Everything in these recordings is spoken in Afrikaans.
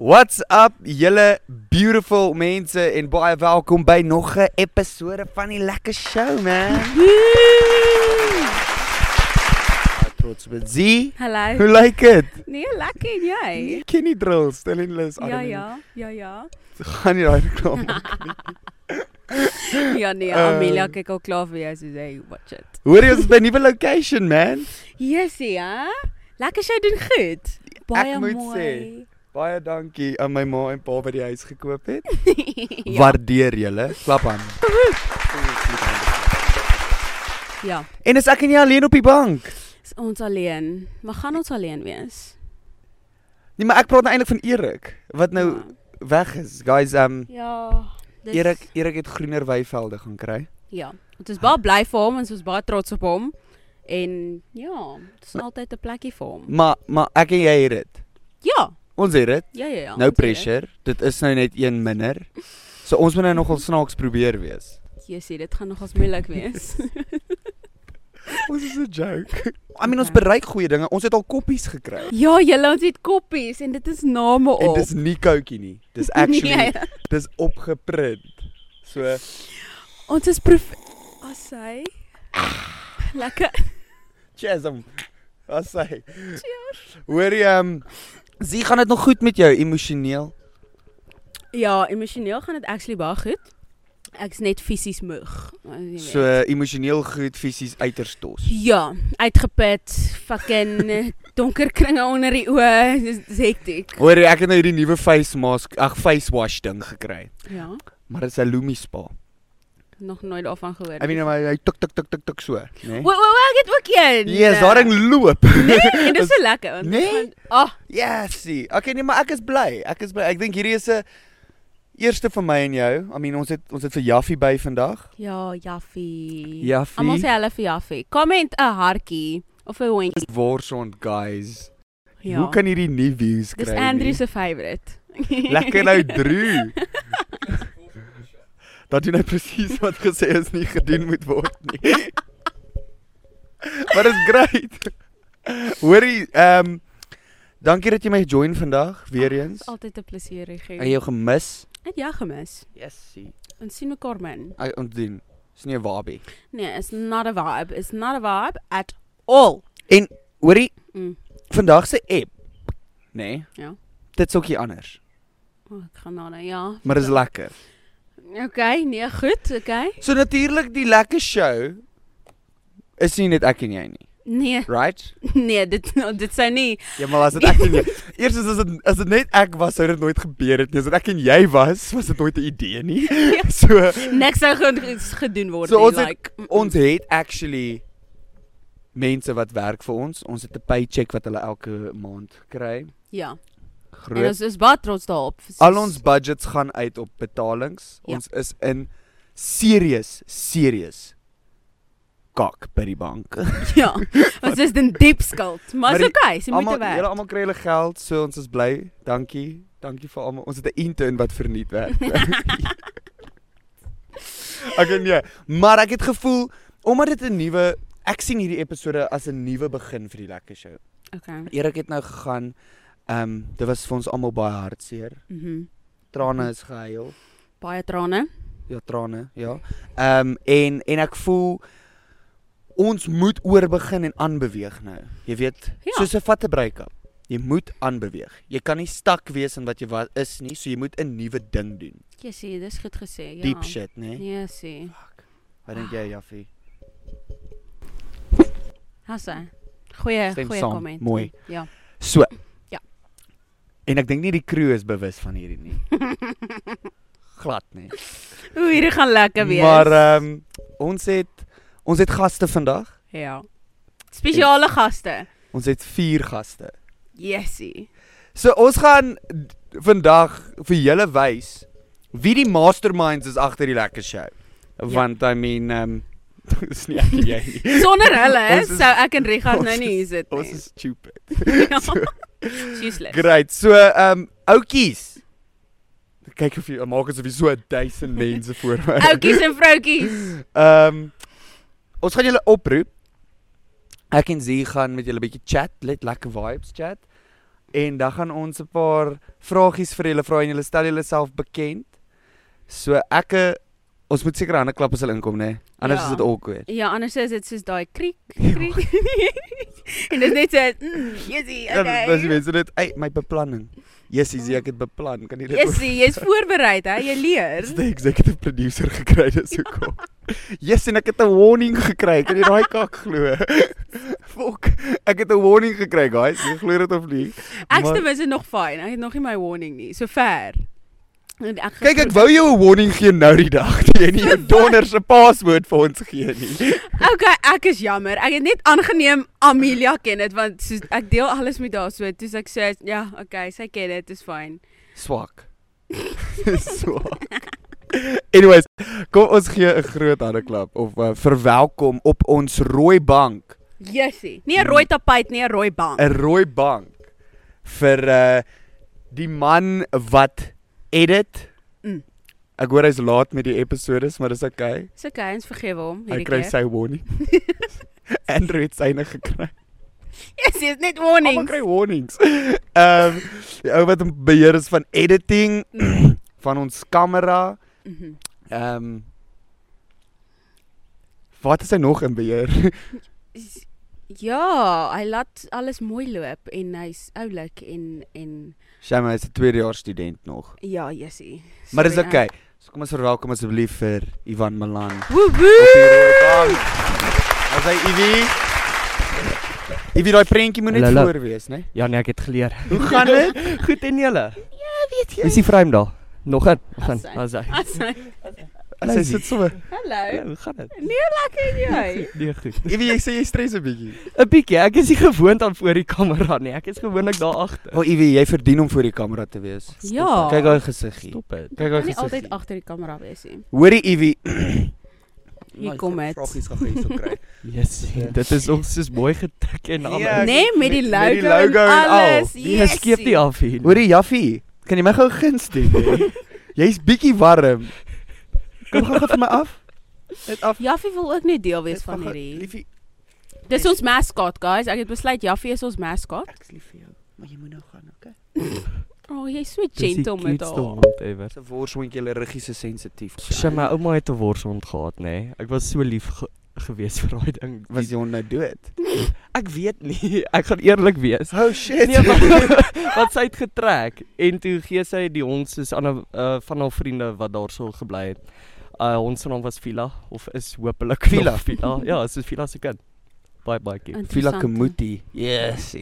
What's up julle beautiful mense en baie welkom by nog 'n episode van die lekker show man. Baie Trots met Z. Hoe Hallo. lyk dit? Nee, lekker en jy? Ken die drills, stel en lus aan. Ja, ja, ja, ja. Gaan nie daai reklam. maak. Ja nee, Eh. Amelia kyk al klaar vir jou soos hy watch it. Hoor jy ons is by 'n nuwe location man. Yesie, hè? Lekker sy doen goed. Baie moet mooi. Baie dankie aan my ma en pa wat die huis gekoop het. Ja. Waardeer julle. Klap aan. Ja, En is ek en jy alleen op die bank? is ons alleen. Maar gaan ons alleen wees? Nee, maar ek praat nou eintlik van Erik wat nou weg is. Guys, um Ja. Dis, Erik Erik het groener weivelde gaan kry. Ja. Ons is baie bly vir hom, ons is baie trots op hom. En ja, dit is altyd 'n plekkie vir hom. Maar maar ek en jy het dit. Ja, Ons het dit. ja, ja, Nou ja. ons weet pressure. Dit is nou net een minder. So ons moet nou nogal snaaks probeer wees. dit. Yesie, dit gaan nogals moeilik wees. Ons is 'n joke. I mean ons Okay. bereik goeie dinge. Ons het al koppies gekry. ja, julle ons het koppies en dit is name op. En dis nie koutjie nie. Dis actually Nee, dis opgeprint. So Ons is prof as hy lekker cheers hom. Wat sê? Hoor jy ehm um, Zie gaan dit nog goed met jou emosioneel? ja, emosioneel gaan dit actually baie goed. Ek's net fisies moeg. jy weet. So emosioneel goed, fisies uiters tos. ja, uitgeput, fucking donker kringe onder die oë, dis dis hektiek. Hoor jy ek het nou hierdie nuwe face mask, ag face wash ding gekry. Ja, Maar dit is 'n Lumi spa. nog nooit daarvan gehoor. Ek weet o, maar hy tik tik tik tik tik so, né? o, o, ek het ook een. Ja, yes, daardie loop. Nee, en dit is so lekker. want dit Nee? gaan- Ag, Yesie. Okay, nee, maar ek is bly. Ek is bly. Ek dink hierdie is 'n eerste vir my en jou. I mean, ons het ons het vir Jaffie by vandag. ja, Jaffie. Almal sê Jaffie. hulle vir Jaffie. Comment 'n hartjie of 'n hondjie. Warson guys. Ja. Ja. Hoe kan hierdie nie views kry Dis nie? Andrew se favourite. Lekker nou Drew. Dat jy nou presies wat gesê is nie gedoen moet word nie. Maar is great. Hoorie, ehm dankie dat jy my join vandag weer eens. Dis altyd 'n plesier, Regie. Ek het jou gemis. Het jy gemis? Yesie. Ons sien mekaar min. Ek ontdien. Dis nie 'n wabie. Nee, it's not a vibe. It's not a vibe at all. Hoorie, Mm. vandag se app, nê? Nee, Ja. Dit's ookie anders, Oh, ek gaan nou, ja. maar dis lekker. Okay, nee, goed, okay. So natuurlik die lekker show is nie net ek en jy nie, Nee, right? nee, dit dit sou nie. Ja, maar as dit ek en jy. Eers as dit as dit net ek was, sou dit nooit gebeur het nie. As dit ek en jy was, was dit nooit 'n idee nie. So Niks sou ge- gedoen word So Ja. nie, ons het- like. mm, mm. ons het actually mense wat werk vir ons. Ons het 'n paycheck wat hulle elke maand kry. ja. En Groot ons is baie trots daarop. Al ons budgets gaan uit op betalings. Ja. Ons is in serious serious kak by die bank. ja. Ons is in diep skuld, maar Maar is die- okay, sy moet Almal, werk. julle almal kry hulle geld, so ons is bly. Dankie. Dankie vir almal. Ons het 'n intern wat verniet werk. Ek en jy, maar ek het gevoel omdat dit 'n nuwe ek sien hierdie episode as 'n nuwe begin vir die lekker show. Okay. Erik het nou gegaan. Ehm dit was vir ons almal baie hartseer. Mhm. Trane is gehuil. Baie trane. ja trane, ja. Ehm en en ek voel ons moet oor begin en aanbeweeg nou. Jy weet, Ja. soos 'n vatte break-up. Jy moet aanbeweeg. Jy kan nie stak wees in wat jy wat is nie, so jy moet 'n nuwe ding doen. Jessie, dis goed gesê, ja. Deep shit, né? Nee? Nee, sê. Wat dink jy, Jaffie? Hasse. Goeie, Stem goeie saam, komment. mooi. Ja. So. Ja. En ek dink nie die crew is bewus van hierdie nie. Glad nie. Ooh, hierdie gaan lekker wees. Maar ehm ons het ons het gaste vandag. ja. Spesiale gaste. Ons het 4 gaste. Yesie. So ons gaan d- vandag vir julle wys wie die masterminds is agter die lekker show. Ja. Want I mean um dis nie ek en jy nie. Sonder hulle Ons is- sou ek en Richard ons nou nie is- hier sit Ons nie. is stupid. It's useless. Great. So um oudjies. Kyk of jy maak asof jy so 1000 mense voor my. Oukies en vroukies. Ehm ons gaan julle oproep. Ek en Zee gaan met julle 'n bietjie chat, let lekker vibes chat. en dan gaan ons 'n paar vragies vir julle vra en julle stel julleself bekend. So ek eh, ons moet seker hande klap as hulle inkom nê. Nee? Anders Ja. is dit awkward. Ja, anders is dit soos daai kriek, kriek. Ja. en dit is net so, mm, jissie, Dan was die okay. mense net, "Ey, my beplanning." Jessie, sê ek het beplan. Kan jy dit Jissie, jy's voorberei, hè? Jy leer. Dis die executive producer gekry dis hoekom. Yes, en ek het 'n warning gekry. Kan jy daai kak glo? Fok, ek het 'n warning gekry, guys. Jy glo dit of nie? Ek's Maar- ten minste nog fyn. Ek het nog nie my warning nie. So ver. En Ek Kyk, ek wou jou 'n warning gee nou die dag, dat jy nie jou donder se paswoord vir ons gee nie. Okay, ek is jammer. Ek het net aangeneem Amelia ken dit want soos, ek deel alles met haar so. Toe sê ek sê ja, okay, sy ken dit, dis fyn. Swak. Swak. Anyways, kom ons gee 'n groot hande klap of uh, verwelkom op ons rooi bank. Jessie. Nie 'n Hmm. rooi tapijt nie, 'n rooi bank. 'n rooi bank vir uh die man wat edit. Mm. Ek hoor hy's laat met die episodes, maar dis okay. Dis okay, ons vergewe hom Hy hierdie kry keer. sy warning. Andrew het syne gekry. Jessie, is net Almal warning. kry warnings. Ehm um, die ou wat in beheer is van editing Mm. van ons kamera. Mhm. Ehm um, Wat is hy nog in beheer? Is- Ja, hy laat alles mooi loop en hy's oulik en en Shame, hy's 'n tweedejaars student nog. ja, Jessie. Maar dis Sorry, okay. So kom ons verwelkom asseblief vir Ivan Malan. ek- Woe Op die rooi woe. bank. As hy Ivy Ivy daai prentjie moet net Hallo. voor wees, né? Ja nee, ek het geleer. Hoe gaan dit? Goed en julle? Ja, weet jy. Is die frame daar? Nog een. Gaan. Assai. As hy. Assai. As hy sit so. Ja, Hallo. hoe gaan dit? Nee, lekker en jy. Nee, goed. Ivy, jy sê jy stres 'n bietjie. 'n Bietjie. Ek is nie gewoond aan voor die kamera nie. Ek is gewoonlik daar agter. O oh, Ivy, jy verdien om voor die kamera te wees. Ja. Kyk haar gesiggie. Stop dit. Kyk haar Kan nie altyd gesiggie. agter die kamera wees nie. Hoorie Ivy. Hier kom dit. Vragies gaan jy so kry. Yes, dit is ook soos mooi getik en alles. Ja, Nee, Nee, met die met die logo, logo en en al. alles. jy skeep Jessie. nie af hier. nie. Hoorie Jaffie, kan jy my gou 'n guns doen? hè? Jy's bietjie warm. Kom gou gou vir my af. Net af. Jaffie wil ook net deel wees Net van gou- hierdie. Liefie, Dis ons mascot, guys. Ek het besluit Jaffie is ons mascot. ek's lief vir jou, maar jy moet nou gaan, okay? O, oh, jy's so Dis die gentle met cutest haar. hond ever. Se worswink julle riggies is sensitief. Sy my ouma het 'n worshond gehad, nê. Nee. Ek was so lief ge gewees vir daai ding. Was die hond nou dood? Ek weet nie. Ek gaan eerlik wees. Oh shit. Nee, maar wat sy het getrek en toe gee sy die hond soos aan 'n uh, van haar vriende wat daarso gebly het. Uh hond se naam was Vila of is hopelik nog Vila. Vila. Ja, soos Vila se kind. Baie baie cute. Vila Interessant. Kamuti. Yes.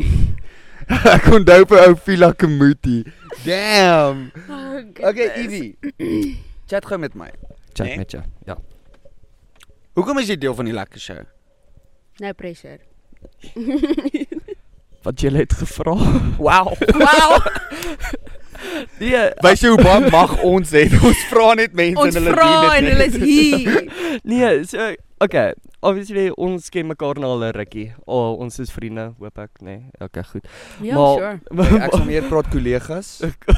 Ek onthou vir ou Vila Kamuti. Damn. Oh, goodness. Okay, Evie. Chat gou met my. Chat Nee. nee. met jou. Ja. Hoekom is jy deel van die lekker show? No pressure. Wat jy het gevra. Wow. Wow, Nee, Wys jy hoe baie mag ons het. Ons vra net mense ons en hulle vra doen en hulle dit. is hier. nee, so okay. Obviously ons ken mekaar nou al 'n rukkie. O, oh, ons is vriende, hoop ek, nê. Nee. Okay, goed. Ja, Maar- sure. nie. Ek sal meer praat kollegas.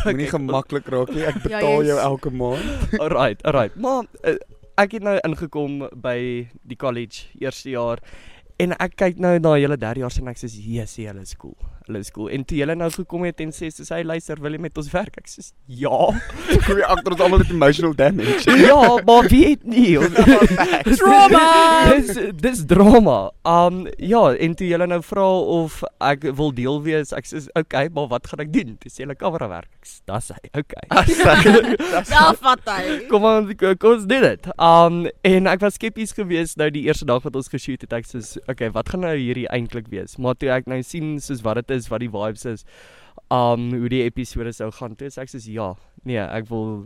Moenie Ek- gemaklik raak nie. Ek Ja, betaal jou jy's- elke maand. Alright, alright. Maar uh, ek het nou ingekom by die college eerste jaar en ek kyk nou na julle derdejaars en ek sê Jesus, hulle is cool. Hulle is cool. En toe julle nou gekom het en sê soos hy luister, wil jy met ons werk? Ek sê ja. Kom jy agter ons almal het emotional damage. ja, maar wie het nie? Drama! dis dis drama. Um ja, en toe julle nou vra of ek wil deel wees, ek sê okay, maar wat gaan ek doen? Toe sê hulle kamera werk. Ek sê dis hy. Okay. Self vat hy. Kom aan, kom ons doen dit. Um en ek was skepties geweest nou die eerste dag wat ons geshoot het. Ek sê, okay, wat gaan nou hierdie eintlik wees? Maar toe ek nou sien soos wat dit is, wat die vibes is, um hoe die episode sou gaan, toe sê ek sê ja, nee, ek wil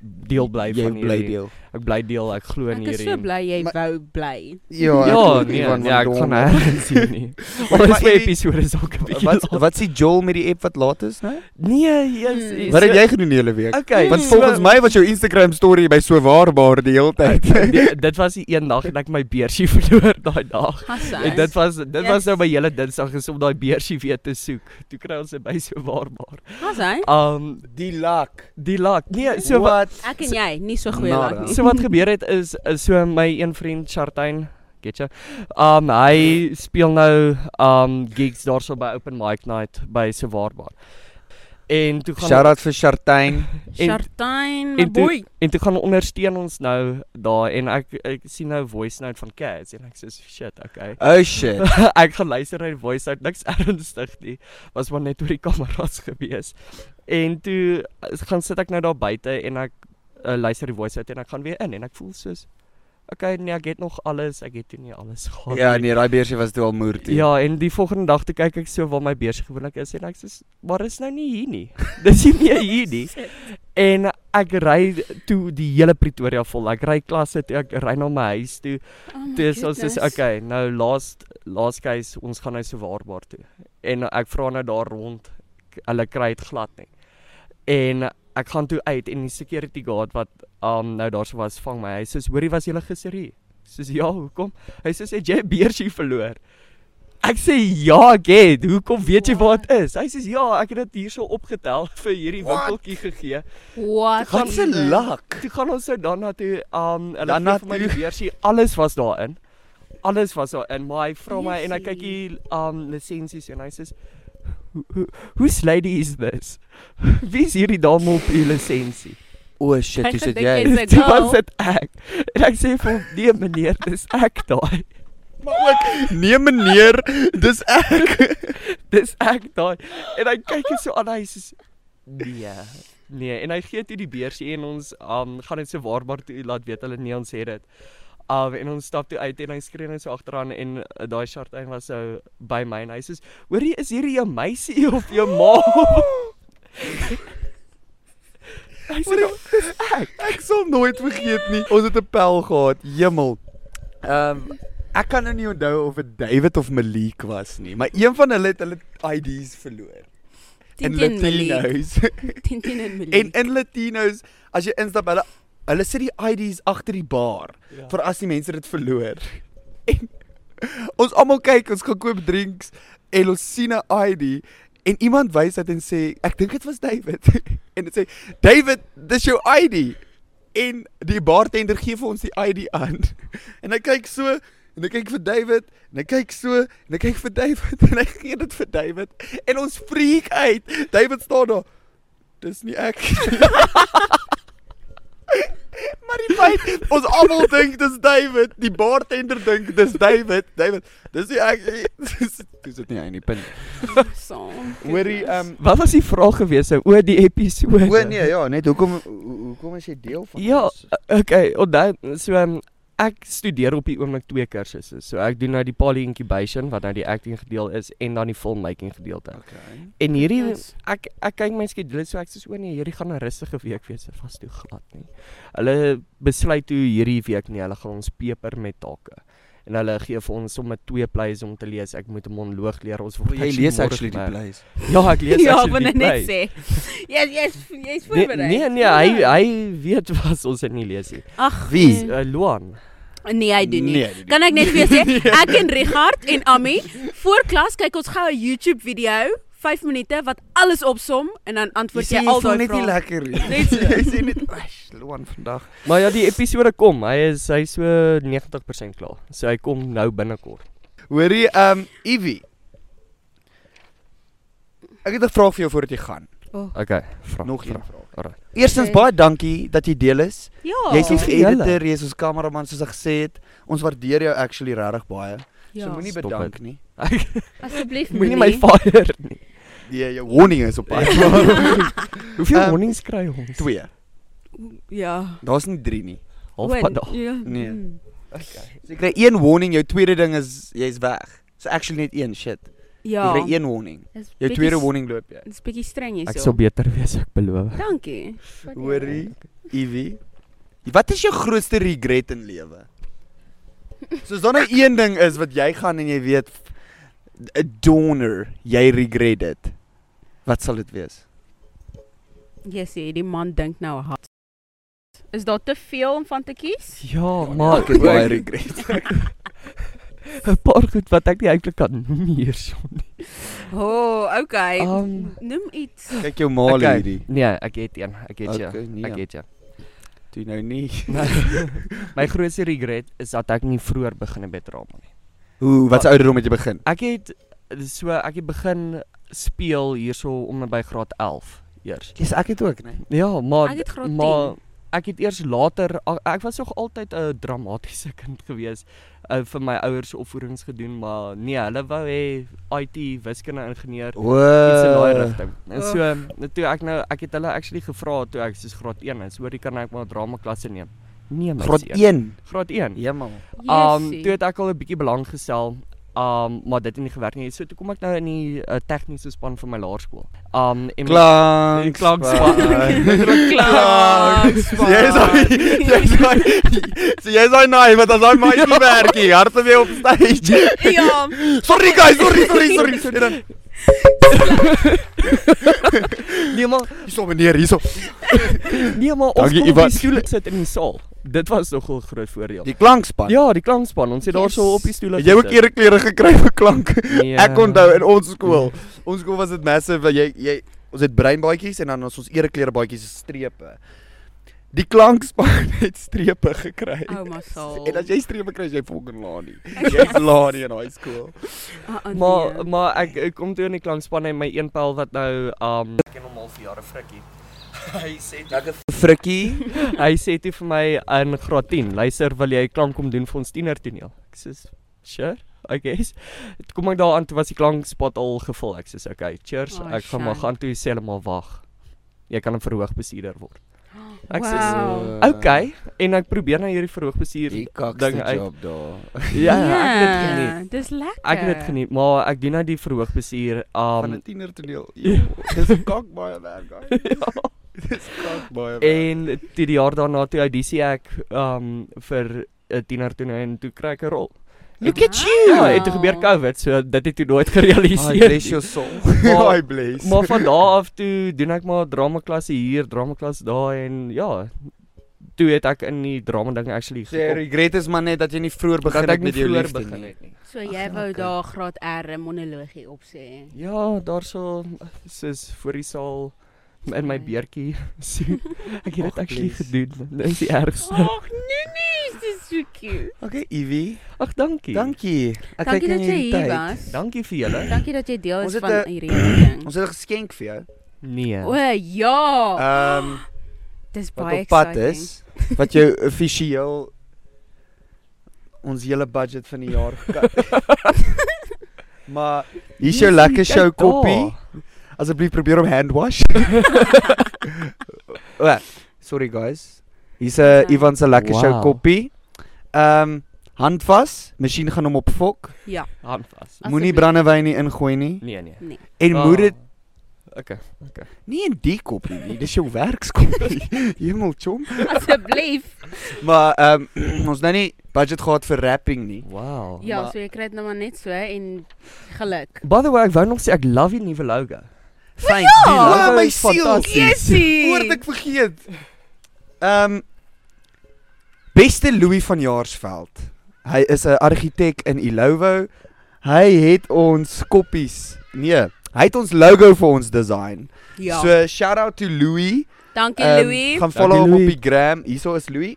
deel bly Jy van hierdie. bly deel. Ek bly deel, ek glo in Ek is hierdie. so bly jy Maar- wou bly. Ja, Ja, ek ja weet nie nee, van nee, ek waar gaan dom. nêrens sien nie. Maar- Al maar is my Evie, episode is ook 'n bietjie. Wat laat. wat sê Joel met die app wat laat is nou? Nee, yes. Hmm. is- Wat het jy gedoen die hele week? Okay, Want so- volgens my was jou Instagram story by so waarbaar die hele tyd. Nee, dit was die een dag en ek my beursie verloor daai dag. Hassai. En dit was dit was nou Yes. by julle Dinsdag is om daai beursie weer te soek. Toe kry ons dit by so waarbaar. Hassai. Um Die lak. die lak. Nee, so wat Ek en jy, nie so goeie Nada. lag nie. so wat gebeur het is is so my een vriend Chartyn getcha. Um hy speel nou um gigs daarso by Open Mic Night by Sewaarbaar. En toe gaan Shout out vir Chartyn. en- Chartyn, my en toe- boy. En toe gaan ondersteun ons nou daar en ek ek sien nou 'n voice note van Cats en ek sê shit, okay. Oh shit. ek gaan luister na die voice note, niks ernstig nie. Was maar net oor die kameras gewees. En toe eh, gaan sit ek nou daar buite en ek uh, luister die voice note en ek gaan weer in en ek voel soos okay, nee, ek het nog alles, ek het toe nie alles gehad Ja, nee, daai beursie was toe al moer toe. Ja, en die volgende dag toe kyk ek so waar my beurs gewoonlik is en ek sê, "Maar is nou nie hier nie." Dis nie meer Nee, hier nie. Shit. En ek ry toe die hele Pretoria vol. Ek ry klasse toe, ek ry na my huis toe. Oh my Toe is ons soos, goodness. "Okay, nou last last case, ons gaan nou so waarbaar toe." En ek vra nou daar rond. k- Hulle kry dit glad nie. En ek gaan toe uit en die security guard wat um nou daarso was, vang my. Hy sê, "Hoorie, was jy gister hier?" Ek Sê, "Ja, hoekom?" Hy sê, "Het jy 'n beursie verloor?" Ek sê ja, ek het. Hoekom weet jy waar dit is? Hy sê ja, ek het dit hierso opgetel vir hierdie What? winkeltjie gegee. What? Wat the 'n even? lak. Toe gaan ons nou dan na toe um hulle Dan na gee vir my die toe. beursie, alles was daarin. Alles was daarin, maar hy vra my en hy kyk hier um lisensies en hy sê "Who- who- Whose lady is this? Wie is hierdie dame op u lisensie? O shit, Hy hoe sit gedink jy? het- Is it Dit was girl? dit ek. En ek sê vir hom, "Nee meneer, dis ek daai. Maar ook nee meneer, dis ek. Dis ek daai." En hy kyk hier so aan hy sê nee. Nee, en hy gee toe die beursie en ons um gaan dit so waarbaar toe laat weet hulle nee ons het dit. Um en ons stap toe uit en hy skree net so agteraan en uh, daai Shartyn was so by my en hy sê, "Hoorie, is hierdie jou meisie of jou ma?" hy sê, Hoorie. Ek sal nooit vergeet nie. Ons het 'n pel gehad, hemel. Ehm um, ek kan nou nie onthou of dit David of Malik was nie, maar een van hulle het hulle IDs verloor. In Tintin Malie. Latinos. Tintin en Malie. en in Latinos, as jy instap, hulle hulle sit die IDs agter die bar Ja. vir as die mense dit verloor. En ons almal kyk, ons gaan koop drinks en ons sien 'n ID en iemand wys dit en sê ek dink dit was David. en dit sê David, dis jou ID. En die bartender gee vir ons die ID aan. En hy kyk so en hy kyk vir David en hy kyk so en hy kyk vir David en hy gee dit vir David en ons freak uit. David staan daar. Dis nie ek. maar die feit ons almal dink dis David, die bartender dink dis David. David, dis nie ek. nie. Dis dis dit nie aan die punt. Song. Hoorie, ehm "Wat was die vraag gewees nou oor die episode?" O nee, ja, net hoekom ho- hoekom is jy deel van Ja, ons? Okay, onthou so um, ek studeer op die oomblik twee kursusse. So ek doen nou die poly incubation wat nou die acting gedeel is en dan die filmmaking gedeelte. Okay. En hierdie Yes. ek ek kyk my skedule so ek sê o nee, hierdie gaan 'n rustige week wees, dit was toe glad nie. Hulle besluit toe hierdie week nie, hulle gaan ons peper met take. En hulle gee vir ons sommer twee plays om te lees. Ek moet 'n monoloog leer. Ons word môre gemerk. plays. Ja, ek lees Ja, ek wil actually die net plays. sê. Ja. Jy's jy's jy's Nee, voorberei. nee, nee, hy hy weet wat ons in nie lees nie. Ag, Wie? nee. Uh, Luan. Nee, hy doen nie. Nee, hy doen nie. Kan ek net weer sê Nee. ek en Richard en Ami voor klas kyk ons gou 'n YouTube video, 5 minute wat alles opsom en dan antwoord jy, al daai net nie vrae. lekker Net so. Jy sien dit, "Ag, Loan vandag." Maar ja, die episode kom. Hy is hy is so 90% klaar. So hy kom nou binnekort. Hoorie, ehm Evie. Ek het 'n vraag vir jou voordat jy gaan. Okay, vra. Nog vra. een vraag. Alright. Eerstens Okay. baie dankie dat jy deel is. Ja. Jy's ons vir julle. editor, jy's ons kameraman soos ek gesê het. Ons waardeer jou actually regtig baie. Ja. so moenie Stop bedank it. nie. Asseblief Moenie my fire nie. Nee, jou warning is op pad. Ja. Hoeveel Ehm, warnings kry ons? 2. Ja. Daar's nie 3 nie. Halfpad daar. Ja. Nee. Mm. So jy kry een warning, jou tweede ding is jy's weg. So actually net een shit. Ja. Jy kry een warning. Dis Jou bietjie tweede s- warning loop jy. Dis bietjie streng hierso. Ek sal beter wees, ek beloof. Dankie. Hoorie, Evie. Wat is jou grootste regret in lewe? Soos dan 'n een ding is wat jy gaan en jy weet 'n donor, jy regret dit. Wat sal dit wees? Jy sê die man dink nou hard. Is daar te veel om van te kies? Ja, maar ek het baie ook regrets. 'n paar goed wat ek nie eintlik kan noem hierson. O, oh, okay. Um, Ehm, Noem iets. Kyk jou maal Okay. hierdie. Nee, ek het een. Ek het een. Okay, nee. Ek het een. Toe nou nie. My grootste regret is dat ek nie vroeër begin het met drama nie. Hoe wat se ouderdom het jy begin? Ek het so ek het begin speel hierso om en by graad 11 eers. Dis ek het ook, nee. Ja, maar Ek het graad maar ek het eers later a- ek was nog altyd 'n dramatiese kind gewees. Uh, vir my ouers opvoedings gedoen, maar nee, hulle wou hê IT, wiskunde, ingenieur O. iets in daai rigting. En so Oeg. nou, toe ek nou ek het hulle actually gevra toe ek soos graad 1 is, hoorie kan ek maar drama klasse neem? Nee, my Graad seun. 1. Graad 1. Hemel. Um Jessie. toe het ek al 'n bietjie belang gestel. Um maar dit het nie gewerk nie. So toe kom ek nou in die uh, tegniese span van my laerskool. Um en Klank. Klankspan. Klankspan. Jy's daai jy's daai so jy's daai naai wat as daai maatjie nie werk nie. Harte weer op stage. Ja. Sorry guys, sorry, sorry, sorry. Sorry dan. nee maar Hierso meneer, hierso. nee maar ons Dankie, kon op Ivan. die stoel sit in die saal. Dit was nogal 'n groot voordeel. Die klankspan. Ja, die klankspan. Ons het daar so Yes. op die stoel Het jy ook gesit. ereklere gekry vir klank? Nee, Ek onthou in ons skool. Ons skool was dit massive want jy jy ons het breinbaadjies en dan ons ons ereklere baadjies is strepe. Die klankspan het strepe gekry. Oh my soul. En as jy strepe kry, is jy fucking laanie. Jy's laanie in high school. Ah, ah, Maar Ja, nee. maar ek, ek kom toe in die klankspan en my een pel wat nou um ken hom al vir jare Frikkie. hy sê ek Frikkie. hy sê toe vir my in graad 10, luister wil jy klank kom doen vir ons tienertoneel. Ek sê sure. I guess. Toe kom ek daaraan toe was die klankspot al gevul. Ek sê okay, cheers. Oh, Oh, ek gaan maar shame. gaan toe sê hulle maar wag. Jy kan 'n verhoogbestuurder word. ek sê Wow. Okay, en ek probeer nou hierdie verhoogbestuur. eh, Die kakste Ding uit. job daar. Ja, ek het dit geniet. Dis lekker. Ek het dit geniet, maar ek doen nou die verhoogbestuur. Van 'n Um tiener toneel. Jo, Dis kak baie werk, guys. Ja. Dis kak baie werk. En toe die jaar daarna toe audisie ek um vir 'n tiener toe en toe kry ek 'n rol. Look at you. Ja, het toe gebeur COVID, so dit het toe nooit gerealiseer. nie. your soul. Maar- I bless. maar van daar af toe doen ek maar drama klasse hier, drama klas daar en ja, toe het ek in die drama ding actually Sy regret is maar net dat jy nie vroeër begin dat ek het nie met jou vroeër liefde begin nie. het nie. So jy Ag, wou lekker. daar graad R 'n monologie opsê. Ja, daarso soos voor die saal in my Mooi. beertjie. So, ek het dit Och, actually please. gedoen. Dit is die ergste. Ag nee nee, dis so cute. Okay, Evie. Ag, dankie. Dankie. Ek Dankie kyk dat na jy hierdie hier tyd. was. Dankie vir julle. Dankie dat jy deel Ons is het van een- hierdie ding. Ons het 'n geskenk vir jou. Nee. O ja, Ehm um, dis wat baie op pad exciting. is wat jou officieel ons hele budget van die jaar gekat. maar hier's jou Jissie, lekker kyk show daar. koppie. Asseblief probeer hom hand wash. o, sorry guys. Hier's 'n Ja. Ivan se lekker wow. show Wow. koppie. Ehm um, hand vas, masjien gaan hom opfok. Ja. Hand vas. Moenie Asseblief. brandewyn nie ingooi nie. Nee, nee. En oh. moet dit Okay. nie in die koppie nie. Dis jou werkskoppie. Hemel chom. Asseblief. Maar ehm um, ons nou nie budget gehad vir rapping nie. Wow. Ja, Maar- so jy kry dit nou maar net so en geluk. By the way, ek wou nog sê ek love die nuwe logo. Fyn, die logo ja, my is siel. fantasties. Jessie. Voordat ek vergeet. Ehm um, Beste Louis van Jaarsveld. Hy is 'n argitek in Ilovo. Hy het ons koppies. Nee, hy het ons logo vir ons design. Ja. So shout out to Louis. Dankie Ehm, Louis. Gaan follow hom Dankie, op Louis. die gram. Hierso is Louis.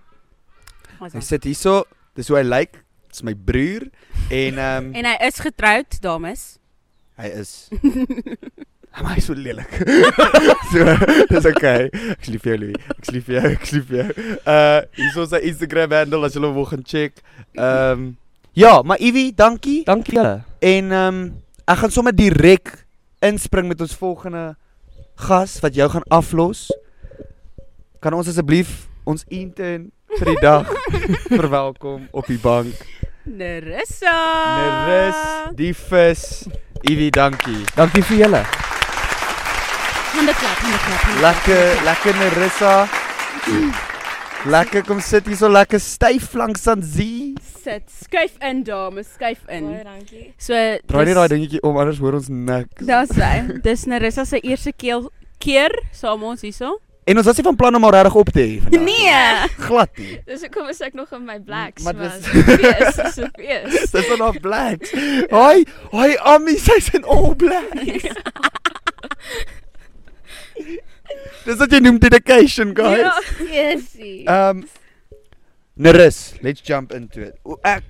Hy Awesome. sit hierso. Dis hoe hy lyk. Like. Dis my broer en ehm um, En hy is getroud, dames. Hy is Maar hy is so lelik. so, dis okay. Ek lief jou, Louis. Ek lief jou, ek lief jou. Uh, hier is sy Instagram handle as jy wil gaan check. Ehm um, ja, maar Ivy, dankie. Dankie julle. En ehm um, ek gaan sommer direk inspring met ons volgende gas wat jou gaan aflos. Kan ons asseblief ons intern vir die dag verwelkom op die bank. Nerissa. Nerus, die vis. Ivy, dankie. Dankie vir julle. Hande klap, hande klap. hande klap, hande Lekker, klap. lekker Nerissa. Lekker kom sit hier so lekker styf langs aan Zee. Sit, skuif in dames, skuif in. dankie. So Draai net dis- daai dingetjie om anders hoor ons niks. Daar's hy. Dis Nerissa se eerste keel keer saam ons hierso. En ons was nie van plan om al regtig op te hê vandag. Nee. glad nie. Dis ek er kom is ek nog in my blacks, Ja. Maar maar dis- dis fees, dis 'n fees. Dis van haar blacks. Hoi, hoi Ja. Ami, sy's in all black. Dis wat jy noem dedication, guys. Ja, Jessie. Ehm Nerus, let's jump into it. O, Ek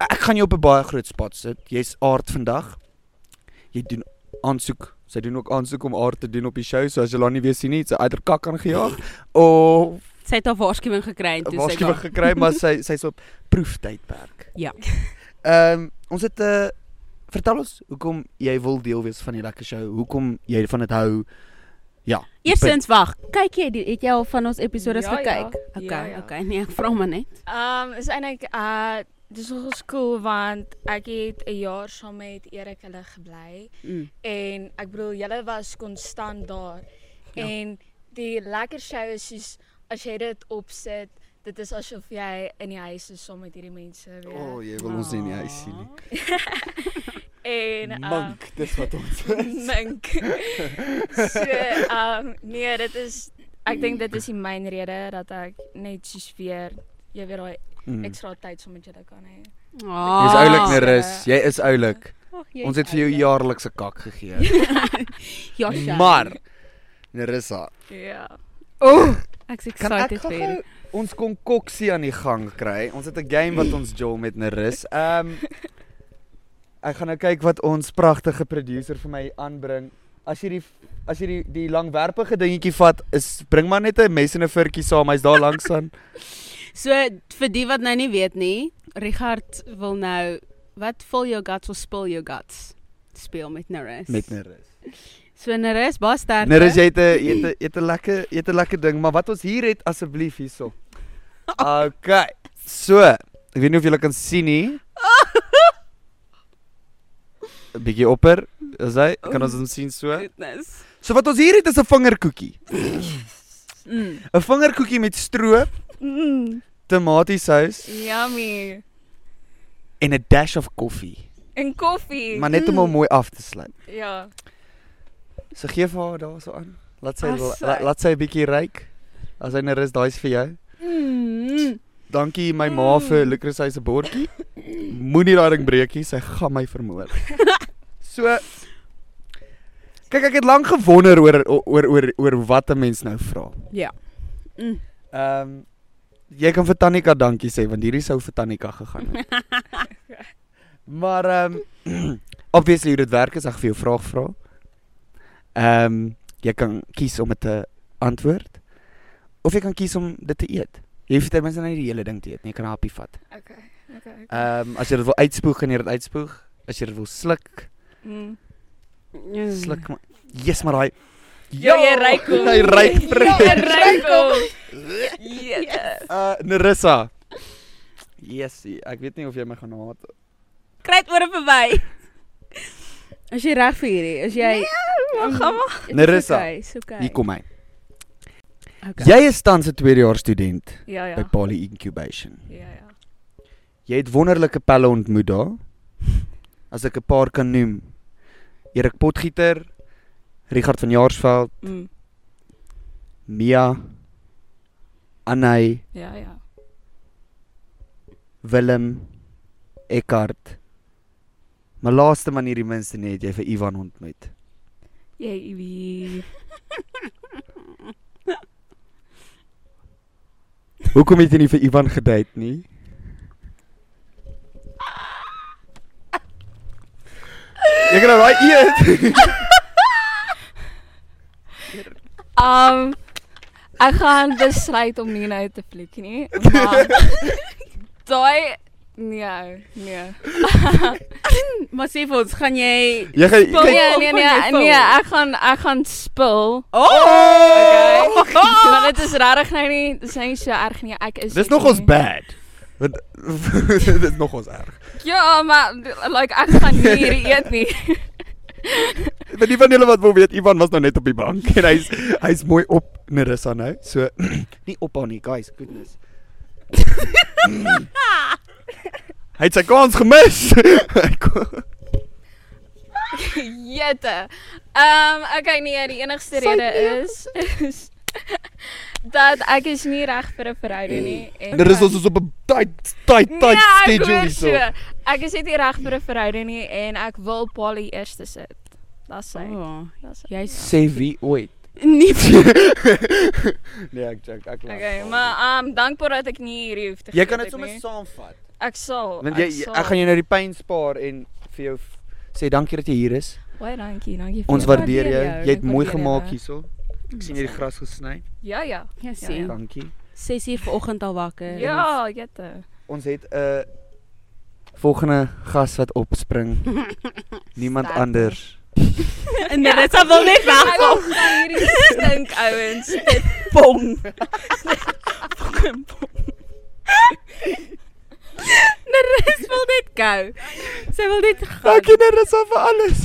ek gaan jou op 'n baie groot spot sit. Jy's aard vandag. Jy doen aansoek. Sy doen ook aansoek om aard te doen op die show, so as jy haar nie weer sien nie, sy uitder kak aangejaag of Sy het haar waarskuwing gekry en 'n toe sy waarskuwing daar- gekry, maar sy sy's op proeftydperk. Ja. Ehm ons het 'n uh, vertel ons hoekom jy wil deel wees van die lekker show, hoekom jy van dit hou. Ja. die punt. Eersins wag, kyk jy die, het jy al van ons episodes Ja, ja. gekyk? Ja, Okay, ja. okay, nee, ek vra maar net. Ehm is eintlik uh dis nog cool want ek het 'n jaar saam met Erik hulle gebly Mm. en ek bedoel julle was konstant daar. Ja. En die lekker show is soos as jy dit opsit, dit is asof jy in die huis is saam met hierdie mense weer. O, oh, jy wil ons nie in die huis sien nie. en uh, Mank, dis wat ons is. mink. so, um, nee, dit is ek dink dit is die myn rede dat ek net soos weer jy weet daai Mm. ekstra tyd saam met julle kan hê. Jy is oulik Ah, net- Nerus, jy is oulik. Ag, jy Ons is het vir jou jaarlikse kak gegee. Ja, sy. Maar Nerissa, Ja. Ooh, ek's kan ek excited vir. gou-gou ons konkoksie aan die gang kry? Ons het 'n game wat ons jol met Nerus. Ehm Ek gaan nou kyk wat ons pragtige producer vir my aanbring. As jy die as jy die die langwerpige dingetjie vat, is bring maar net 'n mes en 'n vurkie saam. Hy's daar langs aan. So vir die wat nou nie weet nie, Richard wil nou wat vul jou guts of spil jou guts speel met Nerus. met Nerus. So Nerus baie sterk. Nerus jy het 'n jy het 'n- jy het 'n lekker jy het 'n lekker ding, maar wat ons hier het asseblief hierso. Okay. So, ek weet nie of julle kan sien nie. 'n Bietjie opper, is hy? Kan ons hom sien so? goodness. So wat ons hier het is 'n vingerkoekie. Mm. 'n Vingerkoekie met stroop, Mm. tomatiesous Yummy. en 'n dash of koffie, En koffie. maar net om hom Mm. mooi af te sluit. ja. So gee vir haar daarso aan. Laat sy As la, hy- laat sy 'n bietjie ryk. As hy Nerus daai's vir jou. Mm. Dankie my ma Hmm. vir Lucas hy se bordjie. Moenie daai ding breek nie, sy gaan my vermoor. So kyk ek het lank gewonder oor oor oor oor wat 'n mens nou vra. Ja. Mm. Ehm jy kan vir Tanika dankie sê want hierdie sou vir Tanika gegaan het. maar ehm obviously hoe dit werk is ek gaan vir jou 'n vraag vra. Ehm jy kan kies om dit te antwoord of jy kan kies om dit te eet. Jy hoef ten minste net die hele ding te eet, nie, jy kan 'n happie vat. Okay. Okay. Ehm um, as jy dit wil uitspoeg, kan jy dit uitspoeg. As jy dit wil sluk, Mm. sluk maar. Yes, maar daai Ja, jy ryk hom. Ja, Hy ryk vrees. Rykom. Yes. Uh Nerissa. Yes, ek weet nie of jy my gaan haat Kry dit oor en verby. As jy reg vir hierdie, as jy Mm. Maar Nee, gaan maar. Nerissa, Okay, okay. Hier kom hy. Okay. Jy is tans 'n tweedejaars student Ja, by ja. Poly Incubation. Ja, ja. Jy het wonderlike pelle ontmoet daar. As ek 'n paar kan noem. Erik Potgieter, Richard van Jaarsveld, Mm. Mia, Anay, Ja, ja. Willem, Eckart. Maar laaste manier die minste net jy vir Ivan ontmoet. Jy iwie. Hoekom het jy nie vir Ivan gedate nie? Jy kan nou daai eet. Um ek gaan besluit om nie nou te fliek nie. Maar daai nee, nee. Maar sê vir ons, gaan jy Jy gaan jy Spul kan- jy- Nee, nee, nee, nee, ek gaan ek gaan spil. Okay. Okay. Maar dit is regtig nou nie, dit is nou nie so erg nie. Ek is Dis ek nog ons nie. bad. Want dis nog ons erg. Ja, maar like ek gaan nie hierdie eet nie. Vir die van julle wat wil weet, Ivan was nou net op die bank en hy's hy's mooi op Nerissa nou. So nie op haar nie, guys, goodness. Hy het sy kans gemis. Hy ko- Jette. Ehm um, okay nee, die enigste rede is is dat ek is nie reg vir 'n verhouding nie. en- Daar is ons is op 'n tight tight tight Nee, ek schedule hoor so. hierso. Ek is net nie reg vir 'n verhouding nie en ek wil Polly eers te sit. Dis sy. Oh, Ja, Dis sy. jy's Sê wie ooit? nie nee, ek joke, ek lag. Okay, maar um dankbaar dat ek nie hierdie hoef te jy kan gedoen dit het sommer nie. saamvat. Ek sal. Want jy sal. ek gaan jou nou die pyn spaar en vir jou f- sê dankie dat jy hier is. Baie dankie, Ja, dankie. vir Ons jou. waardeer jou. Jy het ek mooi waardeer gemaak jou. hierso. Ek sien jy het die gras gesny. Ja, ja. Ja, Ja, sien. Dankie. 6 uur vanoggend al wakker. Ja, jette. Ons het 'n uh, volgende gas wat opspring. Niemand Sterkte. anders. En dit sal wel net Ja. Ek wegkom. wil gaan hierdie stink ouens. Dit Pong. kom. Nerus wil net gou. Sy wil net gaan. Dankie Nerissa vir alles.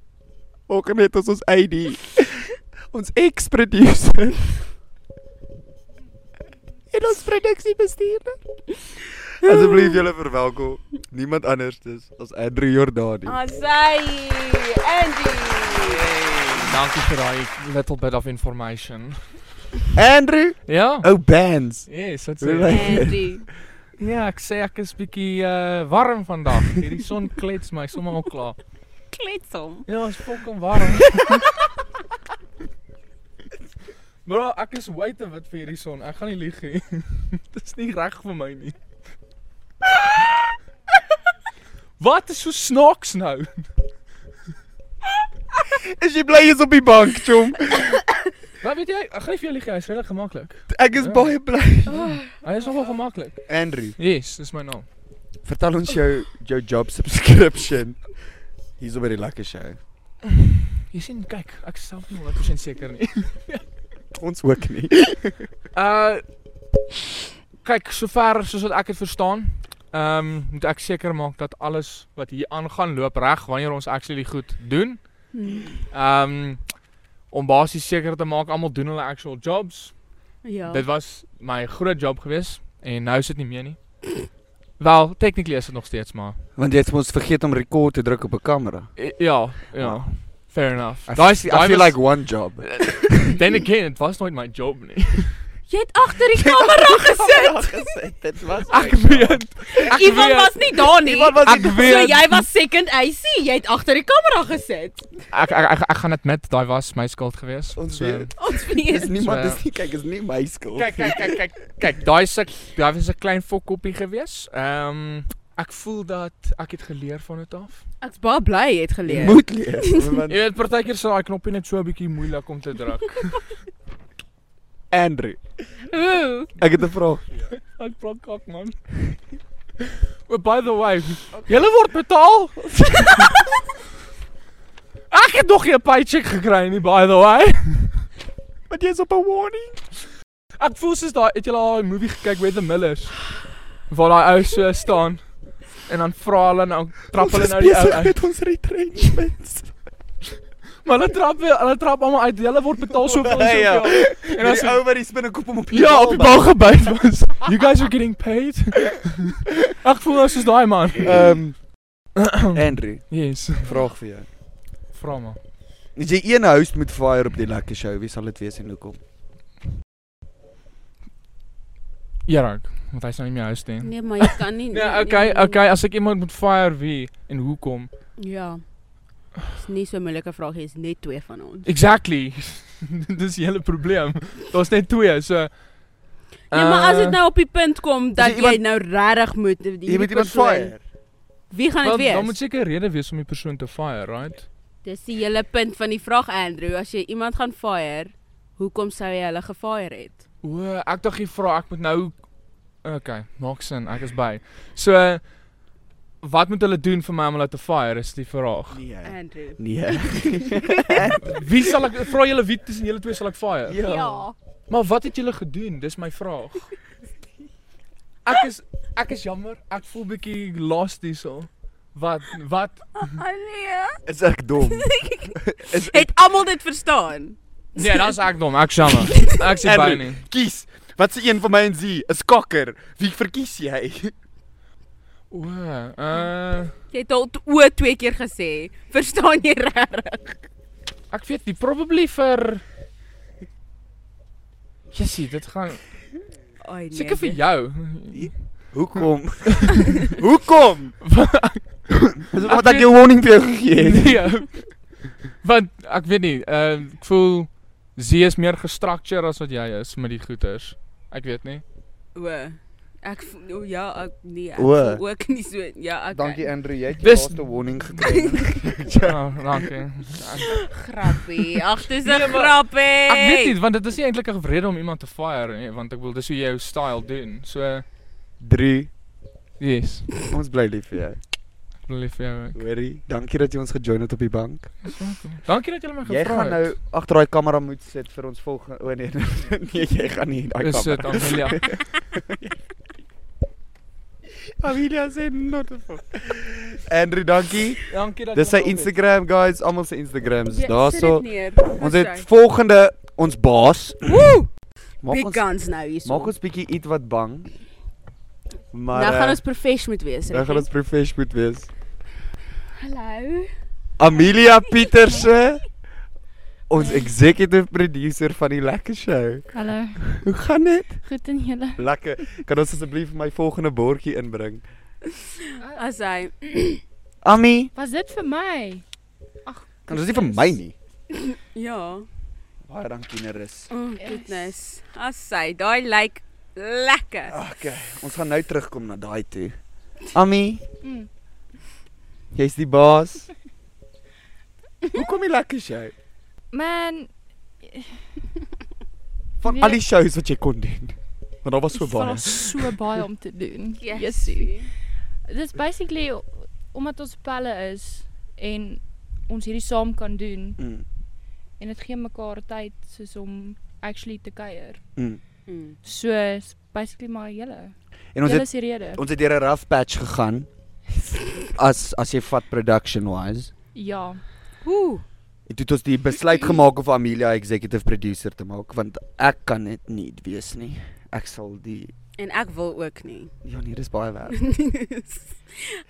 Ook net ons ons ID. Ons ex-producer. En ons produksiebestuurder. Asseblief julle verwelkom. Niemand anders dis as Andrew Jordani. Asai, Andy. Dankie vir daai little bit of information. Andrew, Ja. ou bands. Yes, dit Hoe sê. lyk- Andy. Ja, ek sê ek is bietjie uh, warm vandag. Hierdie son klets my sommer al klaar. Klets hom. Ja, is fucking warm. Bro, ek is way te wit vir hierdie son. Ek gaan nie lieg nie. Dit is nie reg vir my nie. Wat is so snaaks nou? Is jy bly jy's op die bank, chom? Wat weet jy? Ek gaan nie vir jou lieg nie, hy's regtig gemaklik. Ek is Ja. Ah, baie bly. Hy is nogal gemaklik. Andrew, Yes, dis my naam. vertel ons jou jou job subscription. Hier's op by die lekker show. Jy sien, kyk, ek is self nie 100% seker nie. Ons ook nie. Uh kyk, sover soos wat ek dit verstaan, ehm um, moet ek seker maak dat alles wat hier aangaan loop reg wanneer ons actually goed doen. Mm. Ehm um, om basies seker te maak almal doen hulle actual jobs. Ja. Dit was my groot job geweest en nou is dit nie meer nie. Wel, technically is dit nog steeds maar. Want jy het mos vergeet om rekord te druk op 'n kamera. eh, Ja, ja. Fair enough. I Daai Daai is- I daai feel was- like one job. then again, dit was nooit my job nie. Jy het agter die kamera gesit. Dit was Ek weet. Ek Ivan was nie daar nie. Ivan was nie Ek daar. weet. So jy was second AC. Jy het agter die kamera gesit. Ek ek ek, ek gaan admit daai was my skuld geweest. Ons So- weet. Ons weet. Dis niemand So- dis nie kyk is nie my skuld. Kyk kyk kyk kyk kyk daai se daai was 'n klein fokkoppie geweest. Ehm um, ek voel dat ek het geleer van dit af. Ek's baie bly jy het jy geleer. moet leer. Jy Want weet partykeer sal daai knoppie net so 'n bietjie moeilik om te druk. Andrew, Ooh. ek het 'n vraag. ek blok kak man. Well, Oh, by the way, julle word betaal? ek het nog geen paycheck gekry nie by the way. Wat jy's op 'n warning? Ek voel soos daai het julle al daai movie gekyk with the Millers waar daai ou so staan en dan vra hulle nou trap hulle nou die ou uit. met ons retrenchments. Maar hulle trap weer, hulle trap almal uit. Hulle word betaal soveel en Ja. soveel. En En dan as sê ou wat die spinnekop om op ja, op die bal gebyt was. You guys are getting paid. Ek voel nou soos daai man. Ehm Andrew, Yes, vraag vir jou. vra maar. As jy een host moet fire op die lekker show, wie sal dit wees en hoekom? Gerard, want hy's nou nie my huis nie. Nee, maar jy kan nie. Nee, nee, okay, nee, nee. okay, as ek iemand moet fire wie en hoekom? Ja. Dis nie so 'n moeilike vraag, hier's net twee van ons. Exactly. Dis die hele probleem. Daar's net twee, so Nee, maar as dit eh, nou op die punt kom dat jy jy, iemand- nou regtig moet die Jy moet iemand persoon- fire. Wie gaan dit wel, dan moet wees? seker 'n rede wees om die persoon te fire, right? Dis die hele punt van die vraag Andrew, as jy iemand gaan fire, hoekom sou jy hulle gefire het? O, ek dink jy vra ek moet nou Okay, maak sin, ek is by. So wat moet hulle doen vir my om hulle te fire is die vraag. Nee. Andrew. Nee. Wie sal ek vra julle wie tussen julle twee sal ek fire? Ja. Maar wat het julle gedoen? Dis my vraag. Ek is ek is jammer. Ek voel bietjie lost hierso. Wat wat Allee. Is ek dom? Is Het almal dit verstaan? Nee, dan sê ek dom, ek is jammer. Ek sê by nie. kies. Wat se een van my en sy? 'n Skakker. Wie verkies jy? O, uh Jy het al t- o twee keer gesê. Verstaan jy regtig? Ek weet nie, probably vir Jessie, dit gaan Ai nee. seker vir dit- jou. Hoekom? Hoekom? Dis Ek omdat ek weet- Nee. jou warning vir jou gegee het. Nee. Want eh, ek weet nie, ehm uh, ek voel Zie is meer gestructure as wat jy is met die goeters. Ek weet nie. O. Ek voel- o, ja, ek nee, ek O. voel ook nie so ja, okay. Dankie Andrew, jy het Dis- jou laaste warning gekry. Ja, dankie. Grappie. Ag, dis 'n Nee, maar- grappie. Ek weet nie want dit is nie eintlik 'n rede om iemand te fire nie, want ek wil dis hoe jy jou style doen. So 3. yes, Ons bly lief vir jou. ek wil lief vir jou. Hoorie, dankie dat jy ons gejoin het op die bank. Dankie dat julle my gevra Jy het. gaan nou agter daai kamera moet sit vir ons volgende O nee. nee, jy gaan nie in daai Is dit kamera. Amelia? Amelia sê not a fuck. Andrew, dankie. Dankie dat Dis jy sy my ophef. Instagram guys, almal se Ja, Instagrams daarso. Ons het Ons volgende ons baas. Maak big ons guns nou hierso. maak ons bietjie iets wat bang. Maar nou gaan eh, ons professional moet wees. nou gaan ons profesh moet wees. Hallo. Amelia Pieterse. Ons executive producer van die lekker show. Hallo. Hoe gaan dit? Goed en julle? Lekker. Kan ons asseblief my volgende bordjie inbring? as hy Ami, Was dit vir my? kan dit is Nou, nie vir my nie. ja, Baie dankie Nerus. oh Yes. goodness. As hy daai lyk lekker. Okay, ons gaan nou terugkom na daai toe. Ami, Mm. jy's die baas. Hoe kom jy lekker show? Man, Van Nee. al die shows wat jy kon doen. Want daar was so dit baie. was so baie om te doen. Dis basically o- omdat ons pelle is en ons hierdie saam kan doen Mm. en dit gee mekaar tyd soos om actually te kuier. Mm. Mm. So is basically maar julle. En ons het Julle Oh. is die rede. ons het deur 'n rough patch gegaan. As as jy vat production wise. Ja. Ooh. En toe het ons die besluit gemaak om vir Amelia executive producer te maak want ek kan dit nie wees nie. Ek sal die En ek wil ook nie. Ja nee, dis baie werk. Nou,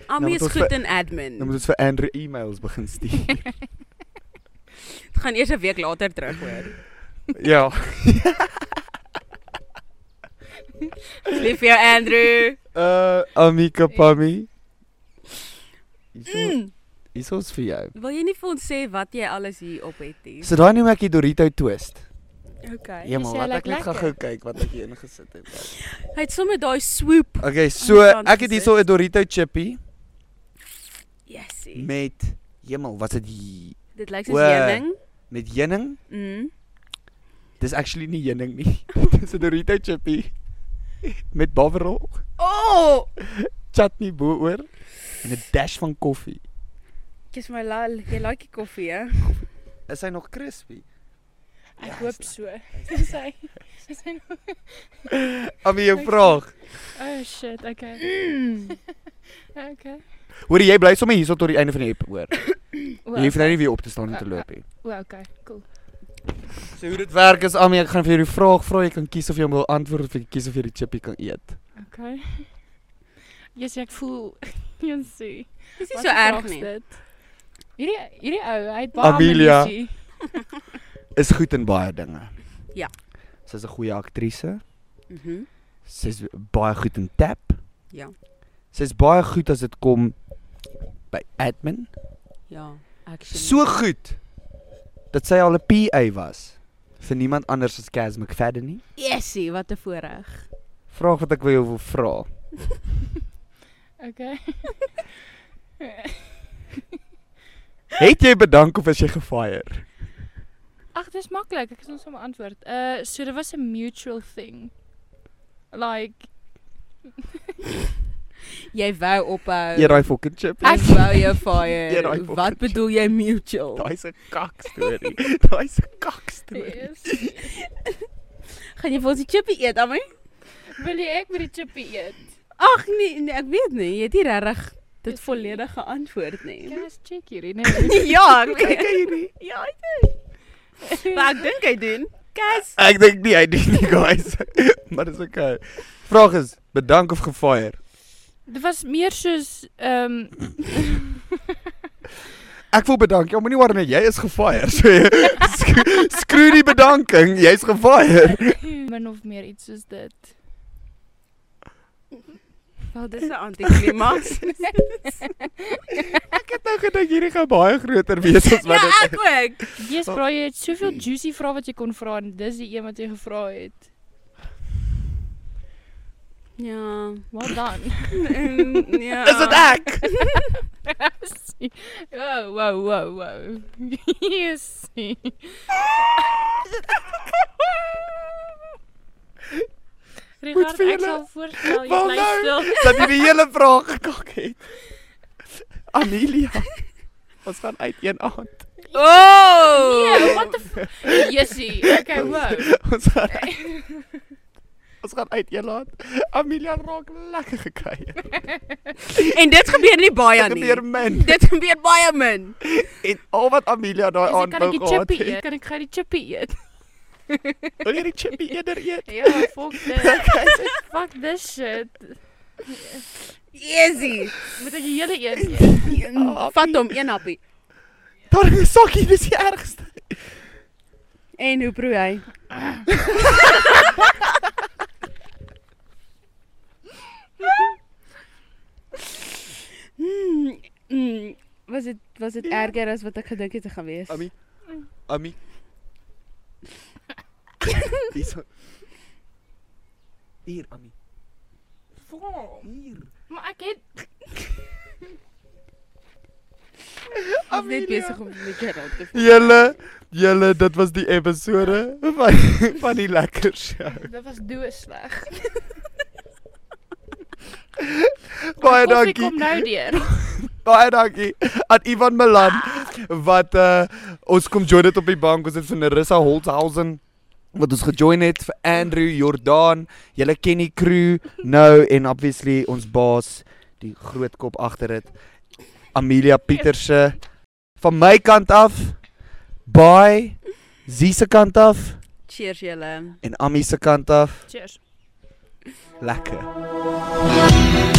Ami want is ons goed be- in admin. Dan moet ons vir Andrew e-mails begin stuur. Dit gaan eers 'n week later terug hoor. ja. Lief vir jou Andrew. Uh Amika Pami. Hier is ons vir jou. Wil jy nie vir ons sê wat jy alles hier op het nie? So daai noem ek die Dorito twist. Okay. Ja maar Is hy wat ek lekker net gaan lekker? gou kyk wat ek hier ingesit het. Hy het sommer daai swoop. Okay, so Aan die kant ek het hierso gesit. 'n Dorito chippy Yesie. met hemel, wat is dit hier? Dit lyk soos Oe. heuning. met heuning? Mm. Dis actually nie heuning nie. Dis 'n Dorito chippy met bavrol, Oh! chutney bo-oor en 'n dash van koffie. Kies my lal, jy like die koffie hè? Is hy nog crispy? Ek Ja, hoop is so. Dis hy. Dis hy. nog- Ami jou Ek- vraag. Oh shit, okay. Mm. Okay. Hoor jy bly sommer hierso tot die einde van die ep hoor. Jy hoef Wow. nou nie weer op te staan en te loop nie. Wow, okay. Cool. So hoe dit werk is Ami, ek gaan vir jou die vraag vra, jy kan kies of jy hom wil antwoord of jy kies of jy die chippy kan eet. Okay. Yes, ek voel Jensie. Dis nie Wat so die erg vraag is nie. dit? Hierdie hierdie ou, hy het baie Amelia. ambisie. Is goed in baie dinge. Ja. Sy's 'n goeie aktrise. Mhm. Sy's baie goed in tap. Ja. Sy's baie goed as dit kom by admin. Ja, actually. So goed dat sy al 'n PA was vir niemand anders as Cas McFadden nie. Yesie, wat 'n voorreg. Vraag wat ek vir jou wil vra. Okay. Het jy bedank of is jy gefire? Ag, dis maklik. Ek is ons sommer antwoord. Uh so dit was 'n mutual thing. Like Jy wou ophou. Eet daai fucking chip. Eh, Ek wou jou Ja, daai fire. fucking- Wat bedoel jy mutual? Daai's 'n kak storie. Daai's 'n kak storie. yes. Gaan jy vir ons die chippie eet, Ami? wil jy ek met die chippie eet? Ag nee, nee, ek weet nie, jy het nie regtig dit volledig geantwoord nie. Gas check hierdie nee. Ja, ek Kyk weet. hierdie. Ja, hy doen. Maar ek dink hy doen. Kas. Ek dink nie hy doen nie, guys. maar dis okay. Vraag is, bedank of gefire? Dit was meer soos ehm um, Ek wil bedank. Ja, moenie worry, jy is gefire. So jy sk- screw die bedanking, jy's gefire. min of meer iets soos dit. Wel, dis 'n antiklimaks. Ek het nou gedink hierdie gaan baie groter wees as ja, wat dit ek ook. Yes, bro, jy het soveel juicy vrae wat jy kon vra en dis die een wat jy gevra het. Ja. Well done. en, ja. is. dit ek? wow, Oh, wow, wow, wow. yes. Richard, vir ek julle- sal voorstel jy Wel bly nou. stil. Dat jy die hele vraag gekak het. Amelia. Ons gaan uit een aand. Oh! Nee, what the fuck? Yesie. Okay, wow. Ons gaan uit. Ons gaan uit een aand. Amelia raak lekker Ja, gekuier. En dit gebeur nie baie Dit nee. nie. gebeur min. Dit gebeur baie min. En al wat Amelia daai Is ek aand kan wou ek die gehad chippy het. eet? Kan ek gou die chippy eet? Wil jy die chippy eerder eet? Ja, fuck dit. Fuck this shit. Easy. Moet ek die hele een eet? Vat hom een happie. Ja. Daar is 'n sokkie, dis die ergste. En hoe proe hy? Hmm, hmm, was dit was dit erger as wat ek gedink het dit gaan wees? Ami. Ami. Dis Hier, Ami. Hier. Maar ek het Ek is net besig om 'n bietjie rond te Julle, julle, dit was die episode van van die lekker show. dit was doe sleg. Baie Koffie dankie. Kom nou deur. Baie dankie aan Ivan Milan wat uh, ons kom join het op die bank. Ons het vir Nerissa Holthausen wat ons gejoin het vir Andrew Jordan. Julle ken die crew nou en obviously ons baas, die groot kop agter dit, Amelia Pieterse. Van my kant af, bye. Zie se kant af Cheers julle. en Ami se kant af. Cheers. Lekker. Bye.